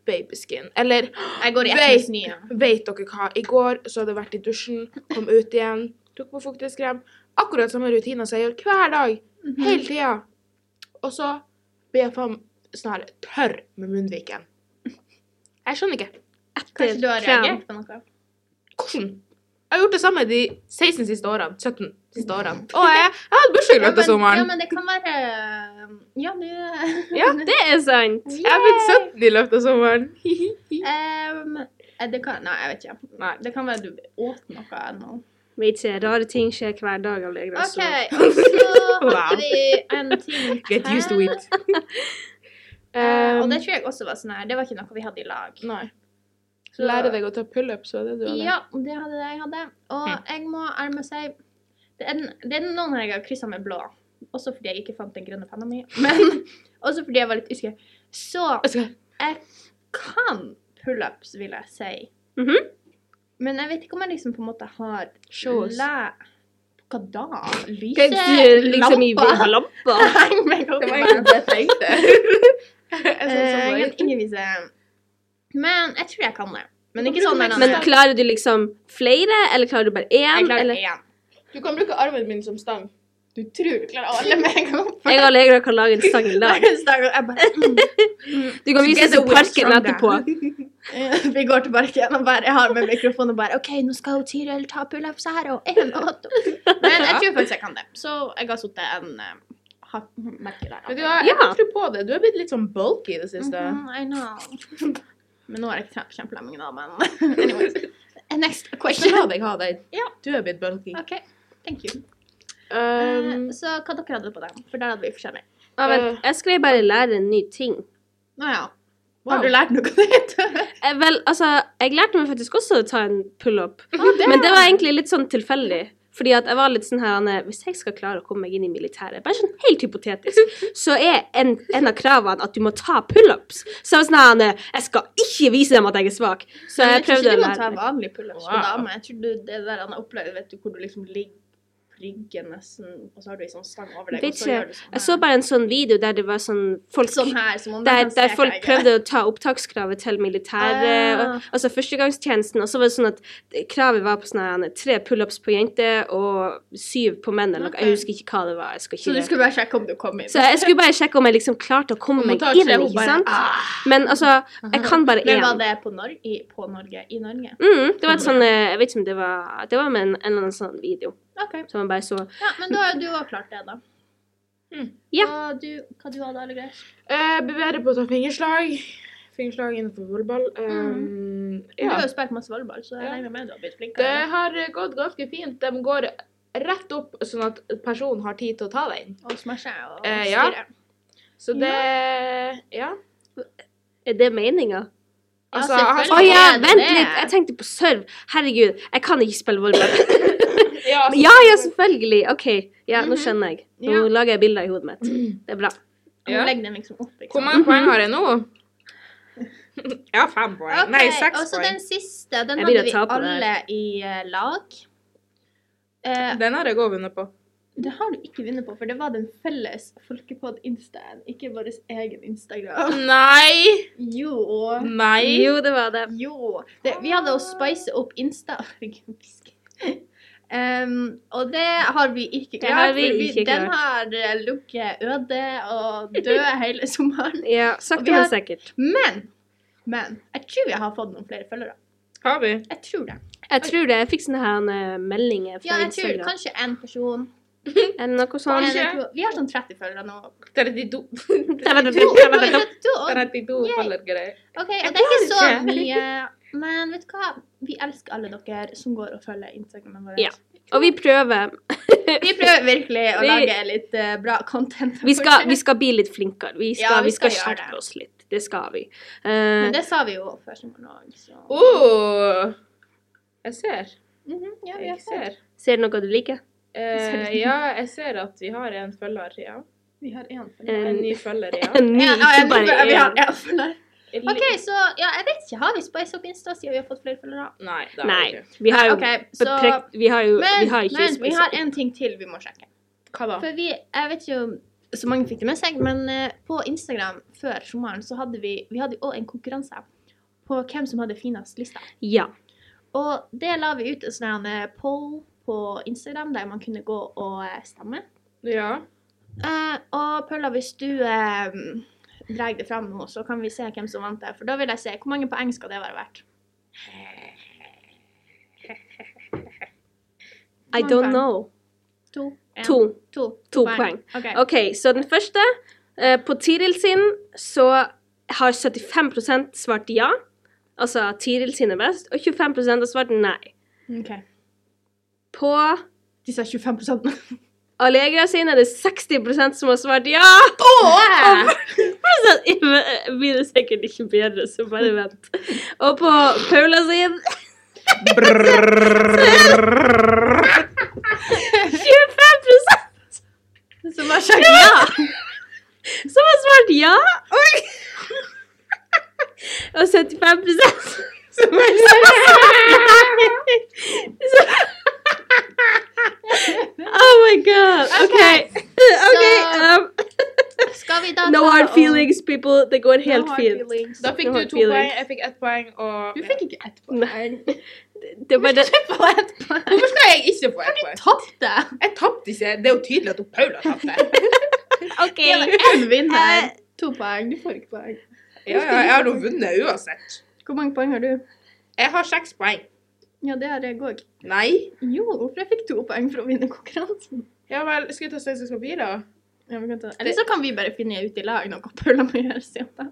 Speaker 3: babyskin. Eller
Speaker 2: Jeg går i ett
Speaker 3: Veit.
Speaker 2: med snø.
Speaker 3: Vet dere hva? I går så hadde jeg vært i dusjen, kom ut igjen, tok på fuktighetskrem. Akkurat samme rutiner som jeg gjør hver dag, hele tida. Og så blir jeg faen snar tørr med munnviken. Jeg skjønner ikke.
Speaker 2: Kanskje du har
Speaker 1: Krem.
Speaker 2: reagert på noe?
Speaker 3: Hvordan? Jeg har gjort det samme de 16 siste årene. 17 siste årene. Og jeg, jeg hadde bursdag i løpet av
Speaker 2: ja,
Speaker 3: sommeren.
Speaker 2: men det kan være um, Ja, det
Speaker 3: [laughs] Ja,
Speaker 1: Det er sant.
Speaker 3: Jeg har blitt 17 i løpet av sommeren. Hihihi.
Speaker 2: Ehm, eh, det kan, nei, jeg vet ikke.
Speaker 3: Nei.
Speaker 2: Det kan være du åt noe ennå.
Speaker 1: Vet ikke, rare ting skjer hver dag. Alle jeg
Speaker 3: [laughs]
Speaker 2: OK,
Speaker 1: også.
Speaker 2: og så
Speaker 3: Altså. Wow.
Speaker 2: hadde vi en ting
Speaker 3: Get used to
Speaker 2: til.
Speaker 3: it.
Speaker 2: Eh, og
Speaker 3: Um,
Speaker 2: det tror jeg også var sånn her, det var ikke noe vi hadde i lag.
Speaker 3: nei.
Speaker 2: Så-
Speaker 3: Lære Um, deg å ta pullups, var det du hadde?
Speaker 2: Ja, det hadde det jeg hadde.
Speaker 3: Hm.
Speaker 2: Og jeg må ærlig si det er, den- det er noen jeg har kryssa med blå. Også fordi jeg ikke fant den grønne penna mi. [laughs] Men også fordi jeg var litt usikker. Så
Speaker 3: Jeg skal-
Speaker 2: jeg kan pullups, vil jeg si.
Speaker 1: Mhm.
Speaker 2: Men jeg vet ikke om jeg liksom på en måte har
Speaker 3: Show us.
Speaker 2: læ... Hva da?
Speaker 1: Kan ikke liksom i
Speaker 2: [laughs] Lyselampa?
Speaker 1: lampa?
Speaker 2: Heng meg opp
Speaker 3: Det var
Speaker 2: i
Speaker 3: egentlig det jeg tenkte. Jeg sånn synes det
Speaker 2: Eh,
Speaker 3: var
Speaker 2: Jeg kan
Speaker 3: litt-
Speaker 2: ikke vise Men jeg tror jeg kan det. Men ikke
Speaker 3: Hvorfor
Speaker 2: sånn
Speaker 3: kan
Speaker 2: der
Speaker 3: man
Speaker 1: Men
Speaker 2: andre.
Speaker 1: klarer du liksom flere, eller klarer du bare én?
Speaker 2: Jeg klarer
Speaker 1: Eller?
Speaker 2: én.
Speaker 3: Du kan bruke armen min som stang.
Speaker 2: Du tror du klarer alle med en gang.
Speaker 1: Jeg og Legra kan lage en sang i
Speaker 2: [laughs]
Speaker 1: lag.
Speaker 2: Jeg bare mm.
Speaker 1: Du kan vise oss
Speaker 2: Together
Speaker 1: til
Speaker 2: we are
Speaker 1: parken
Speaker 2: stronger.
Speaker 1: etterpå.
Speaker 2: Eh, Vi går tilbake igjen og bare jeg har med mikrofonen og bare OK, nå skal hun Tiril ta pullups her og en og to. Men jeg tror faktisk jeg kan det. Så jeg har sittet en eh, ha- merke der.
Speaker 3: Men du har,
Speaker 1: Ja.
Speaker 3: jeg tror på det. Du har blitt litt sånn bulky i det siste.
Speaker 2: Mhm, I know. Men nå har jeg ikke trent kjempelenge, da, men anyways. [laughs] Next
Speaker 3: Så
Speaker 2: question.
Speaker 3: la deg ha deg.
Speaker 2: Ja.
Speaker 3: Du har blitt bulky.
Speaker 2: OK, thank you.
Speaker 3: Um,
Speaker 2: Eh, så hva dere hadde på den? For der hadde vi forskjellig.
Speaker 1: Ja, vent, jeg skrev bare 'lære en ny ting'.
Speaker 2: Nå ja.
Speaker 3: wow.
Speaker 2: Har du lært noe [laughs] nytt?
Speaker 1: Eh, Vel, altså, jeg lærte meg faktisk også å ta en pull-up.
Speaker 2: det-
Speaker 1: Men det var egentlig litt sånn tilfeldig. Fordi at jeg var litt sånn her, Anne, hvis jeg skal klare å komme meg inn i militæret, bare sånn helt hypotetisk, så er en, en av kravene at du må ta pull-ups. Så jeg var sånn her, Anne, jeg skal ikke vise dem at jeg er svak. Så jeg prøvde å
Speaker 2: å lære Jeg tror ikke
Speaker 1: lære
Speaker 2: du må
Speaker 1: meg.
Speaker 2: ta vanlig pullups på
Speaker 3: Wow.
Speaker 2: damer. Jeg tror du, det der han har opplevd, vet du, hvor du liksom ligger på ryggen nesten, og så har du en sånn stang over deg,
Speaker 1: Vet
Speaker 2: og så
Speaker 1: ikke.
Speaker 2: gjør du sånn her.
Speaker 1: Jeg så bare en sånn video der det var sånn folk
Speaker 2: Sånn her, som om det
Speaker 1: der,
Speaker 2: kan
Speaker 1: der
Speaker 2: se
Speaker 1: folk
Speaker 2: deg.
Speaker 1: prøvde å ta opptakskravet til militæret.
Speaker 2: Ah.
Speaker 1: og- Altså førstegangstjenesten. Og så var det sånn at kravet var på sånn her, tre pullups på jenter og syv på menn. Eller noe. Jeg
Speaker 2: Ok.
Speaker 1: husker ikke hva det var. Jeg skal ikke
Speaker 2: Så du skulle bare sjekke om du kom inn.
Speaker 1: så jeg skulle bare sjekke om jeg liksom klarte å komme
Speaker 3: Om hun
Speaker 1: meg
Speaker 3: tar
Speaker 1: inn.
Speaker 3: tre, hun
Speaker 1: ikke
Speaker 3: bare,
Speaker 1: sant?
Speaker 3: ah.
Speaker 1: Men altså, jeg kan bare
Speaker 2: Men var
Speaker 1: én.
Speaker 2: det på, Nor i, på Norge? I Norge?
Speaker 1: Mm, det var et sånn eh, Jeg vet ikke om det var Det var med en, en eller annen sånn video
Speaker 2: OK.
Speaker 1: som man bare så.
Speaker 2: Ja, men da har jo du òg klart det, da.
Speaker 3: Mm.
Speaker 1: Ja.
Speaker 2: Og du, hva du hadde, Allegres?
Speaker 3: Eh, Beveger på å ta fingerslag. Fingerslag innenfor volleyball. Eh,
Speaker 2: Du
Speaker 3: Ja.
Speaker 2: har jo spilt masse volleyball, så jeg
Speaker 3: Ja.
Speaker 2: regner med du har blitt
Speaker 3: Det
Speaker 2: flinkere.
Speaker 3: har gått ganske fint. De går rett opp, sånn at personen har tid til å ta den.
Speaker 2: Og smashe og
Speaker 3: Eh, ja.
Speaker 2: styre.
Speaker 3: Så det Ja.
Speaker 1: Er det meninga?
Speaker 3: Altså,
Speaker 2: selvfølgelig.
Speaker 3: han-
Speaker 1: Å
Speaker 2: Hva
Speaker 1: ja,
Speaker 2: er det?
Speaker 1: vent litt! Jeg tenkte på serve. Herregud, jeg kan ikke spille volleyball.
Speaker 3: ja,
Speaker 1: Men Ja, ja, selvfølgelig. OK. Ja, nå
Speaker 2: Mhm.
Speaker 1: skjønner jeg. Nå
Speaker 2: Ja. Mm.
Speaker 1: lager jeg bilder i hodet mitt. Det er bra.
Speaker 2: Ja. Legg den liksom opp. Ikke
Speaker 3: Hvor
Speaker 2: sant?
Speaker 3: mange poeng har jeg nå? Jeg har fem poeng.
Speaker 2: Mhm. Ok,
Speaker 3: Nei, seks
Speaker 2: og så
Speaker 3: poeng.
Speaker 2: den siste, den
Speaker 1: Jeg
Speaker 2: hadde
Speaker 1: begynner å
Speaker 2: vi
Speaker 1: ta på det
Speaker 2: alle i eh, lag. Eh,
Speaker 3: Den har jeg òg vunnet på.
Speaker 2: det har du ikke vunnet på, for det var den felles Folkepod-instaen, ikke vår egen Instagram.
Speaker 3: Nei!
Speaker 2: Jo.
Speaker 3: Nei!
Speaker 1: Jo, det var det.
Speaker 2: Jo. Det, vi hadde å spice opp Insta. [laughs] Herregud, fisk. Em, og det har vi ikke
Speaker 1: Det
Speaker 2: klart.
Speaker 1: har vi
Speaker 2: for
Speaker 1: ikke
Speaker 2: Den har eh, ligget øde og
Speaker 1: [laughs]
Speaker 2: død hele sommeren.
Speaker 1: Ja,
Speaker 2: Og
Speaker 1: sakte,
Speaker 2: vi har-
Speaker 1: men sikkert.
Speaker 2: Men, men jeg tror jeg har fått noen flere følgere.
Speaker 3: Har vi?
Speaker 2: Jeg tror det.
Speaker 1: Jeg tror det. Jeg fikk sånne her eh, meldinger fra
Speaker 2: Ja, jeg tror
Speaker 1: Instagram.
Speaker 2: kanskje én person.
Speaker 1: Eller noe
Speaker 2: En
Speaker 1: sånt.
Speaker 3: Kanskje.
Speaker 2: eller to. Vi har sånn 30 følgere nå.
Speaker 3: 32. [laughs]
Speaker 2: Jo,
Speaker 1: Det var
Speaker 2: oi,
Speaker 1: det.
Speaker 2: 32 år.
Speaker 3: 32 faller greit.
Speaker 2: Ok, og det er
Speaker 3: klarer
Speaker 2: ikke så
Speaker 3: ikke.
Speaker 2: mye. Men vet du hva? Vi elsker alle dere som går og følger Instagramen vår.
Speaker 1: Ja. Og vi prøver.
Speaker 2: Vi prøver virkelig å
Speaker 1: Vi-
Speaker 2: lage litt eh, bra content.
Speaker 1: Vi skal, vi skal bli litt flinkere. Vi skal,
Speaker 2: Ja, vi
Speaker 1: vi skal,
Speaker 2: skal gjøre det.
Speaker 1: skjerpe oss litt. Det skal vi. Eh,
Speaker 2: Men det sa vi jo før sommeren òg, så
Speaker 3: Oh, jeg ser.
Speaker 2: Mhm, Ja, vi har
Speaker 3: Jeg
Speaker 2: sett.
Speaker 3: ser.
Speaker 1: ser du noe du liker?
Speaker 3: Eh, ja, jeg ser at vi har en følger, ja.
Speaker 2: Vi har én følger.
Speaker 1: En,
Speaker 3: En ny følger, ja.
Speaker 1: en ny,
Speaker 2: Ja, ja,
Speaker 1: ikke
Speaker 2: jeg tror
Speaker 1: bare
Speaker 2: vi har
Speaker 1: én.
Speaker 2: én følger. OK, så ja, jeg vet ikke. Har vi Spice Up Insta siden vi har fått flere følgere?
Speaker 3: Nei, da
Speaker 1: Nei.
Speaker 3: er det ikke.
Speaker 1: Vi har jo
Speaker 2: OK, så
Speaker 1: beprekt- Vi har jo
Speaker 2: Men,
Speaker 1: vi har ikke
Speaker 2: men vi har
Speaker 1: spesielt-
Speaker 2: en ting til vi må sjekke.
Speaker 3: Hva da?
Speaker 2: For vi, jeg vet ikke om så mange fikk det med seg, men eh, på Instagram før sommeren så hadde vi vi hadde jo også en konkurranse på hvem som hadde finest lista.
Speaker 1: Ja.
Speaker 2: Og det la vi ut en sånn her, eh, poll på Instagram der man kunne gå og eh, stemme.
Speaker 3: Ja.
Speaker 2: Eh, og Paula, hvis du eh, drar det fram nå, så kan vi se hvem som vant det. For da vil jeg se hvor mange poeng skal det være verdt.
Speaker 1: I
Speaker 2: Mange
Speaker 1: don't
Speaker 2: poeng?
Speaker 1: know.
Speaker 2: To. en,
Speaker 1: To.
Speaker 2: To,
Speaker 1: To poeng.
Speaker 2: Ok.
Speaker 1: OK, så den første eh, På Tiril sin så har 75 svart ja. Altså at Tiril sin er best. Og 25 har svart nei.
Speaker 2: Ok.
Speaker 1: På
Speaker 2: De sa 25
Speaker 1: Allegra sin er det 60 som har svart ja!
Speaker 2: Åh!
Speaker 1: [laughs] Så blir det sikkert ikke bedre, så bare vent. Og på Paula sin 25
Speaker 2: Så bare sjekk ja!
Speaker 1: som har svart ja. Og 75 som har svart nei. Så- Oh my god. OK. OK. Um,
Speaker 2: Skal vi da
Speaker 1: no
Speaker 2: ta
Speaker 1: hard
Speaker 2: og-
Speaker 1: feelings, people. Det går
Speaker 2: No
Speaker 1: helt
Speaker 2: hard
Speaker 1: fint.
Speaker 2: feelings.
Speaker 3: Da fikk
Speaker 1: Nå
Speaker 3: du
Speaker 1: har
Speaker 3: to
Speaker 1: Felix-
Speaker 3: poeng, jeg fikk ett poeng, og
Speaker 2: Du fikk ikke ett poeng. [laughs]
Speaker 1: Nei. [laughs] Det er bare det.
Speaker 2: På ett poeng.
Speaker 3: Hvorfor skal jeg ikke få ett poeng?
Speaker 2: Tapte!
Speaker 3: Jeg tapte ikke. Det er jo tydelig at hun Paula [laughs] tapte.
Speaker 1: OK.
Speaker 2: Det var én vinner. To poeng. Du får ikke poeng.
Speaker 3: Ja, ja, jeg har jo vunnet uansett.
Speaker 2: Hvor mange poeng har du?
Speaker 3: Jeg har seks poeng.
Speaker 2: Ja, det har jeg òg.
Speaker 3: Nei.
Speaker 2: Jo, for jeg fikk to poeng for å vinne konkurransen.
Speaker 3: Ja vel, skal vi ta stein, saks, papir, da?
Speaker 2: Ja, vi kan ta- Eller så kan vi bare finne ut i lag noe Paula må gjøre siden da.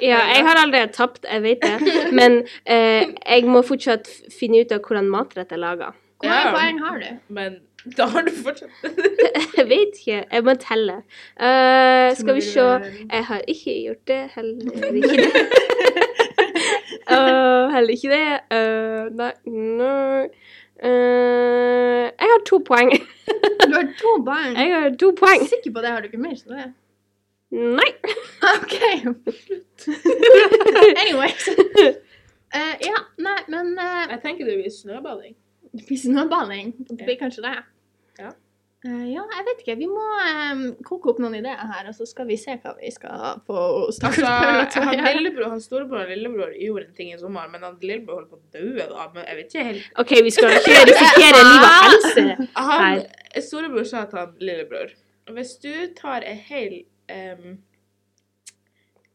Speaker 1: Ja, jeg har allerede tapt, jeg vet det. Men eh, jeg må fortsatt f- finne ut av hvordan matrett er laga.
Speaker 2: Hvor mange
Speaker 3: Ja.
Speaker 2: poeng har du?
Speaker 3: Men da har du fortsatt
Speaker 1: [laughs] Jeg vet ikke. Jeg må telle. Eh, skal vi se
Speaker 2: Tror-
Speaker 1: Jeg har ikke gjort det.
Speaker 2: [laughs]
Speaker 1: Heller ikke det. Eh, heller ikke det. Eh, nei, nei. Eh, jeg har to poeng. [laughs]
Speaker 2: Du har to barn.
Speaker 1: Jeg har to
Speaker 2: Jeg
Speaker 1: poeng.
Speaker 2: er sikker på det. Har du ikke mer? Så
Speaker 1: [laughs]
Speaker 2: det.
Speaker 1: Nei. [laughs]
Speaker 2: OK.
Speaker 1: [laughs]
Speaker 2: Anyways. Eh, ja, nei, men eh,
Speaker 3: Jeg tenker det blir snøbading.
Speaker 2: det blir snøballing. Det blir kanskje det.
Speaker 3: Ja.
Speaker 2: Eh, ja, jeg vet ikke. Vi må eh, koke opp noen ideer her, og så skal vi se hva vi skal få
Speaker 3: [laughs] Altså,
Speaker 2: stakkars Paula til å
Speaker 3: han
Speaker 2: gjøre.
Speaker 3: lillebror, han storebror og lillebror gjorde en ting i sommer, men han lillebror holdt på å daue da. Men jeg vet ikke helt
Speaker 1: OK, vi skal
Speaker 2: [laughs]
Speaker 1: ikke risikere liv og helse.
Speaker 3: Han storebror sa til han lillebror Hvis du tar en hel um,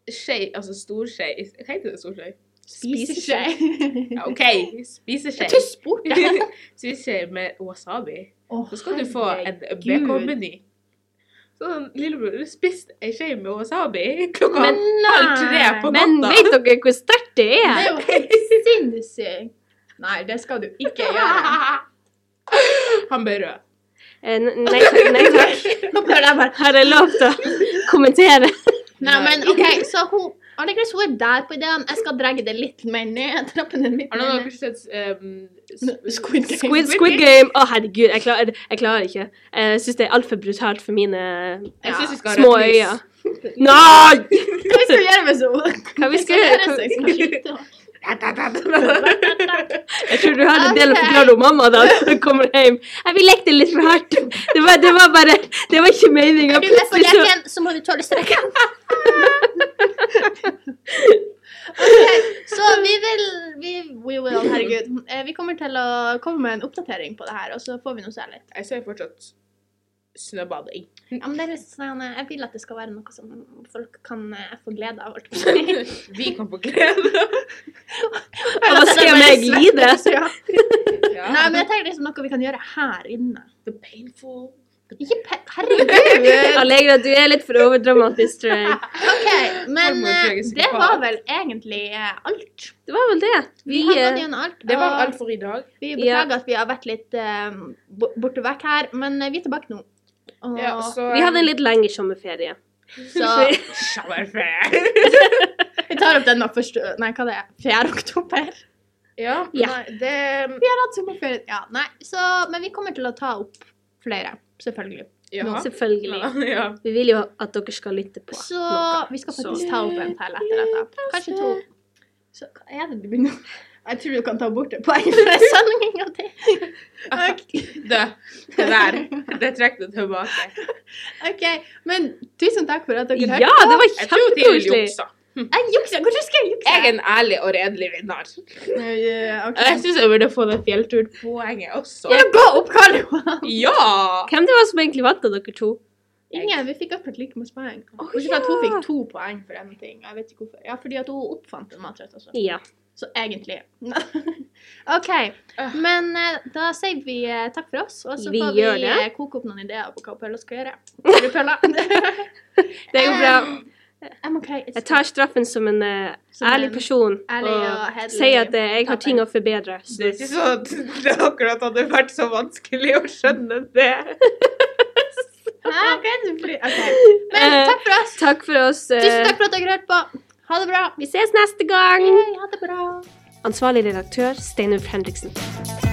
Speaker 3: skje, altså storskje Heter det storskje?
Speaker 2: Spiseskje.
Speaker 3: Ja, OK, spiseskje.
Speaker 2: Du [laughs] spurte!
Speaker 3: Spiseskje med wasabi.
Speaker 2: Oh,
Speaker 3: Så skal du få en BK-meny. Så sånn, lillebror, du spiste ei skje med wasabi klokka
Speaker 2: Men
Speaker 3: halv tre på
Speaker 1: Men
Speaker 3: natta.
Speaker 1: vet dere hvor sterkt det
Speaker 2: Det
Speaker 1: er?
Speaker 2: er [laughs] jo helt sinnssykt. Nei, det skal du ikke gjøre.
Speaker 3: Han ble rød.
Speaker 1: Eh, n- Nei, takk- nei takk.
Speaker 2: Nå ble jeg bare
Speaker 1: Har jeg lov til å kommentere?
Speaker 2: [laughs] Nei, men OK, så hun Anne-Chris, hun er der på ideen. Jeg skal dra det litt mer ned. Trappe det litt
Speaker 3: Har noen av
Speaker 2: mer ned.
Speaker 3: dere sett ehm,
Speaker 2: N- Squid Game.
Speaker 1: Squid, Squid Game. Å, herregud, jeg klarer, jeg klarer ikke. Jeg syns det er altfor brutalt for mine
Speaker 3: Jeg syns vi skal ha
Speaker 1: små
Speaker 3: rødt
Speaker 1: øyne.
Speaker 3: lys.
Speaker 1: Nei!
Speaker 2: Hva [laughs] vi skal gjøre med henne?
Speaker 1: Hva vi skal gjøre? Hva- Jeg tror du hadde en del å
Speaker 2: Ok.
Speaker 1: forklare om mamma da hun kommer hjem. Jeg, vi lekte litt for hardt. Det var, det var bare Det var ikke meninga.
Speaker 2: Er du med på
Speaker 1: Plutselig så
Speaker 2: leken, så må du tåle strekken. Ok, så vi vil vi, we will, Herregud. Eh, Vi kommer til å komme med en oppdatering på det her, og så får vi noe særlig.
Speaker 3: Jeg ser fortsatt snøbading.
Speaker 2: Ja, men det er litt sånn, eh, jeg vil at det skal være noe som folk kan eh, få glede av. holdt jeg på å si.
Speaker 3: Vi kan få glede.
Speaker 1: [laughs] Og da ser jeg meg glide.
Speaker 2: Ja.
Speaker 3: Ja.
Speaker 2: Nei, men jeg tenker liksom noe vi kan gjøre her inne.
Speaker 3: The painful.
Speaker 2: Ikke pe...
Speaker 3: [laughs]
Speaker 2: Herregud!
Speaker 1: Allegra, du er litt for overdramatisk, tror jeg.
Speaker 2: OK, men
Speaker 3: Farmor
Speaker 2: eh,
Speaker 3: trenger sikkert
Speaker 2: det
Speaker 3: mat.
Speaker 2: var vel egentlig eh, alt.
Speaker 1: Det var vel det.
Speaker 2: Vi
Speaker 1: Vi,
Speaker 2: har gått
Speaker 1: eh,
Speaker 2: gjennom alt.
Speaker 3: Det var
Speaker 2: og
Speaker 3: alt for i dag.
Speaker 2: Vi
Speaker 1: Ja.
Speaker 2: beklager at vi har vært litt eh, bo- borte vekk her, men eh, vi er tilbake nå. Og,
Speaker 3: Ja, så,
Speaker 1: Ah. vi hadde en litt lengre sommerferie.
Speaker 2: [laughs] så vi tar opp denne første Nei, hva det er 4. oktober.
Speaker 3: Ja,
Speaker 1: Ja.
Speaker 3: Nei, det
Speaker 2: [laughs] Vi har hatt sommerferie. Ja, nei, så, men vi kommer til å ta opp flere, selvfølgelig.
Speaker 3: ja.
Speaker 1: Selvfølgelig.
Speaker 3: ja.
Speaker 1: Vi vil jo at dere skal lytte på.
Speaker 2: Så
Speaker 1: noe.
Speaker 2: vi skal
Speaker 1: Så-
Speaker 2: faktisk ta opp en til etter dette. Kanskje to. Så hva er det du begynner [laughs] Jeg tror du kan ta bort det [laughs] sånn poenget fra sendinga di.
Speaker 3: Det, det der. Det trekk det tilbake.
Speaker 2: OK, men tusen takk for at dere
Speaker 1: Ja,
Speaker 2: hørte.
Speaker 1: det var
Speaker 3: Jeg tror Tiril
Speaker 1: kjempekoselig.
Speaker 3: juksa.
Speaker 2: Jeg jukser! Hvorfor skal jeg jukse?
Speaker 3: Jeg er en ærlig og redelig vinner.
Speaker 2: Ja, ok.
Speaker 3: Jeg syns jeg burde få det fjellturpoenget også.
Speaker 2: Ja, gå Eh, opp, Karl Johan!
Speaker 3: Ja!
Speaker 1: Hvem det var som egentlig vant av dere to?
Speaker 2: Ingen, vi fikk akkurat like masse poeng.
Speaker 1: Å,
Speaker 2: Bortsett fra at hun
Speaker 1: ja.
Speaker 2: fikk to poeng for en ting. Jeg vet ikke hvorfor. Ja, fordi at hun oppfant en matrett, altså.
Speaker 1: Ja.
Speaker 2: Så egentlig. [laughs] OK.
Speaker 3: Øh.
Speaker 2: Men eh, da sier vi eh, takk for oss, og
Speaker 1: Ah.
Speaker 2: så
Speaker 1: Vi
Speaker 2: får vi
Speaker 1: gjør det.
Speaker 2: eh, koke opp noen ideer på hva Pølla skal gjøre. Ser du Pølla?
Speaker 1: [laughs] Det er jo bra.
Speaker 2: [laughs] I'm okay. It's
Speaker 1: Jeg tar straffen som en eh,
Speaker 2: Eh, Som
Speaker 1: ærlig
Speaker 2: en
Speaker 1: person
Speaker 2: ærlig og
Speaker 1: og
Speaker 2: hederlig
Speaker 1: sier at eh, jeg har ting å forbedre.
Speaker 3: Det er ikke så at det akkurat hadde vært så vanskelig å skjønne det.
Speaker 2: Hæ? Ah, Ok, du blir- ok. Men
Speaker 1: Eh,
Speaker 2: takk for oss.
Speaker 1: Takk for oss. eh,
Speaker 2: Tusen takk for at dere hørte på. Ha det bra.
Speaker 1: Vi ses neste gang.
Speaker 2: Hei, ha det bra.
Speaker 1: Ansvarlig redaktør Steinulf Henriksen.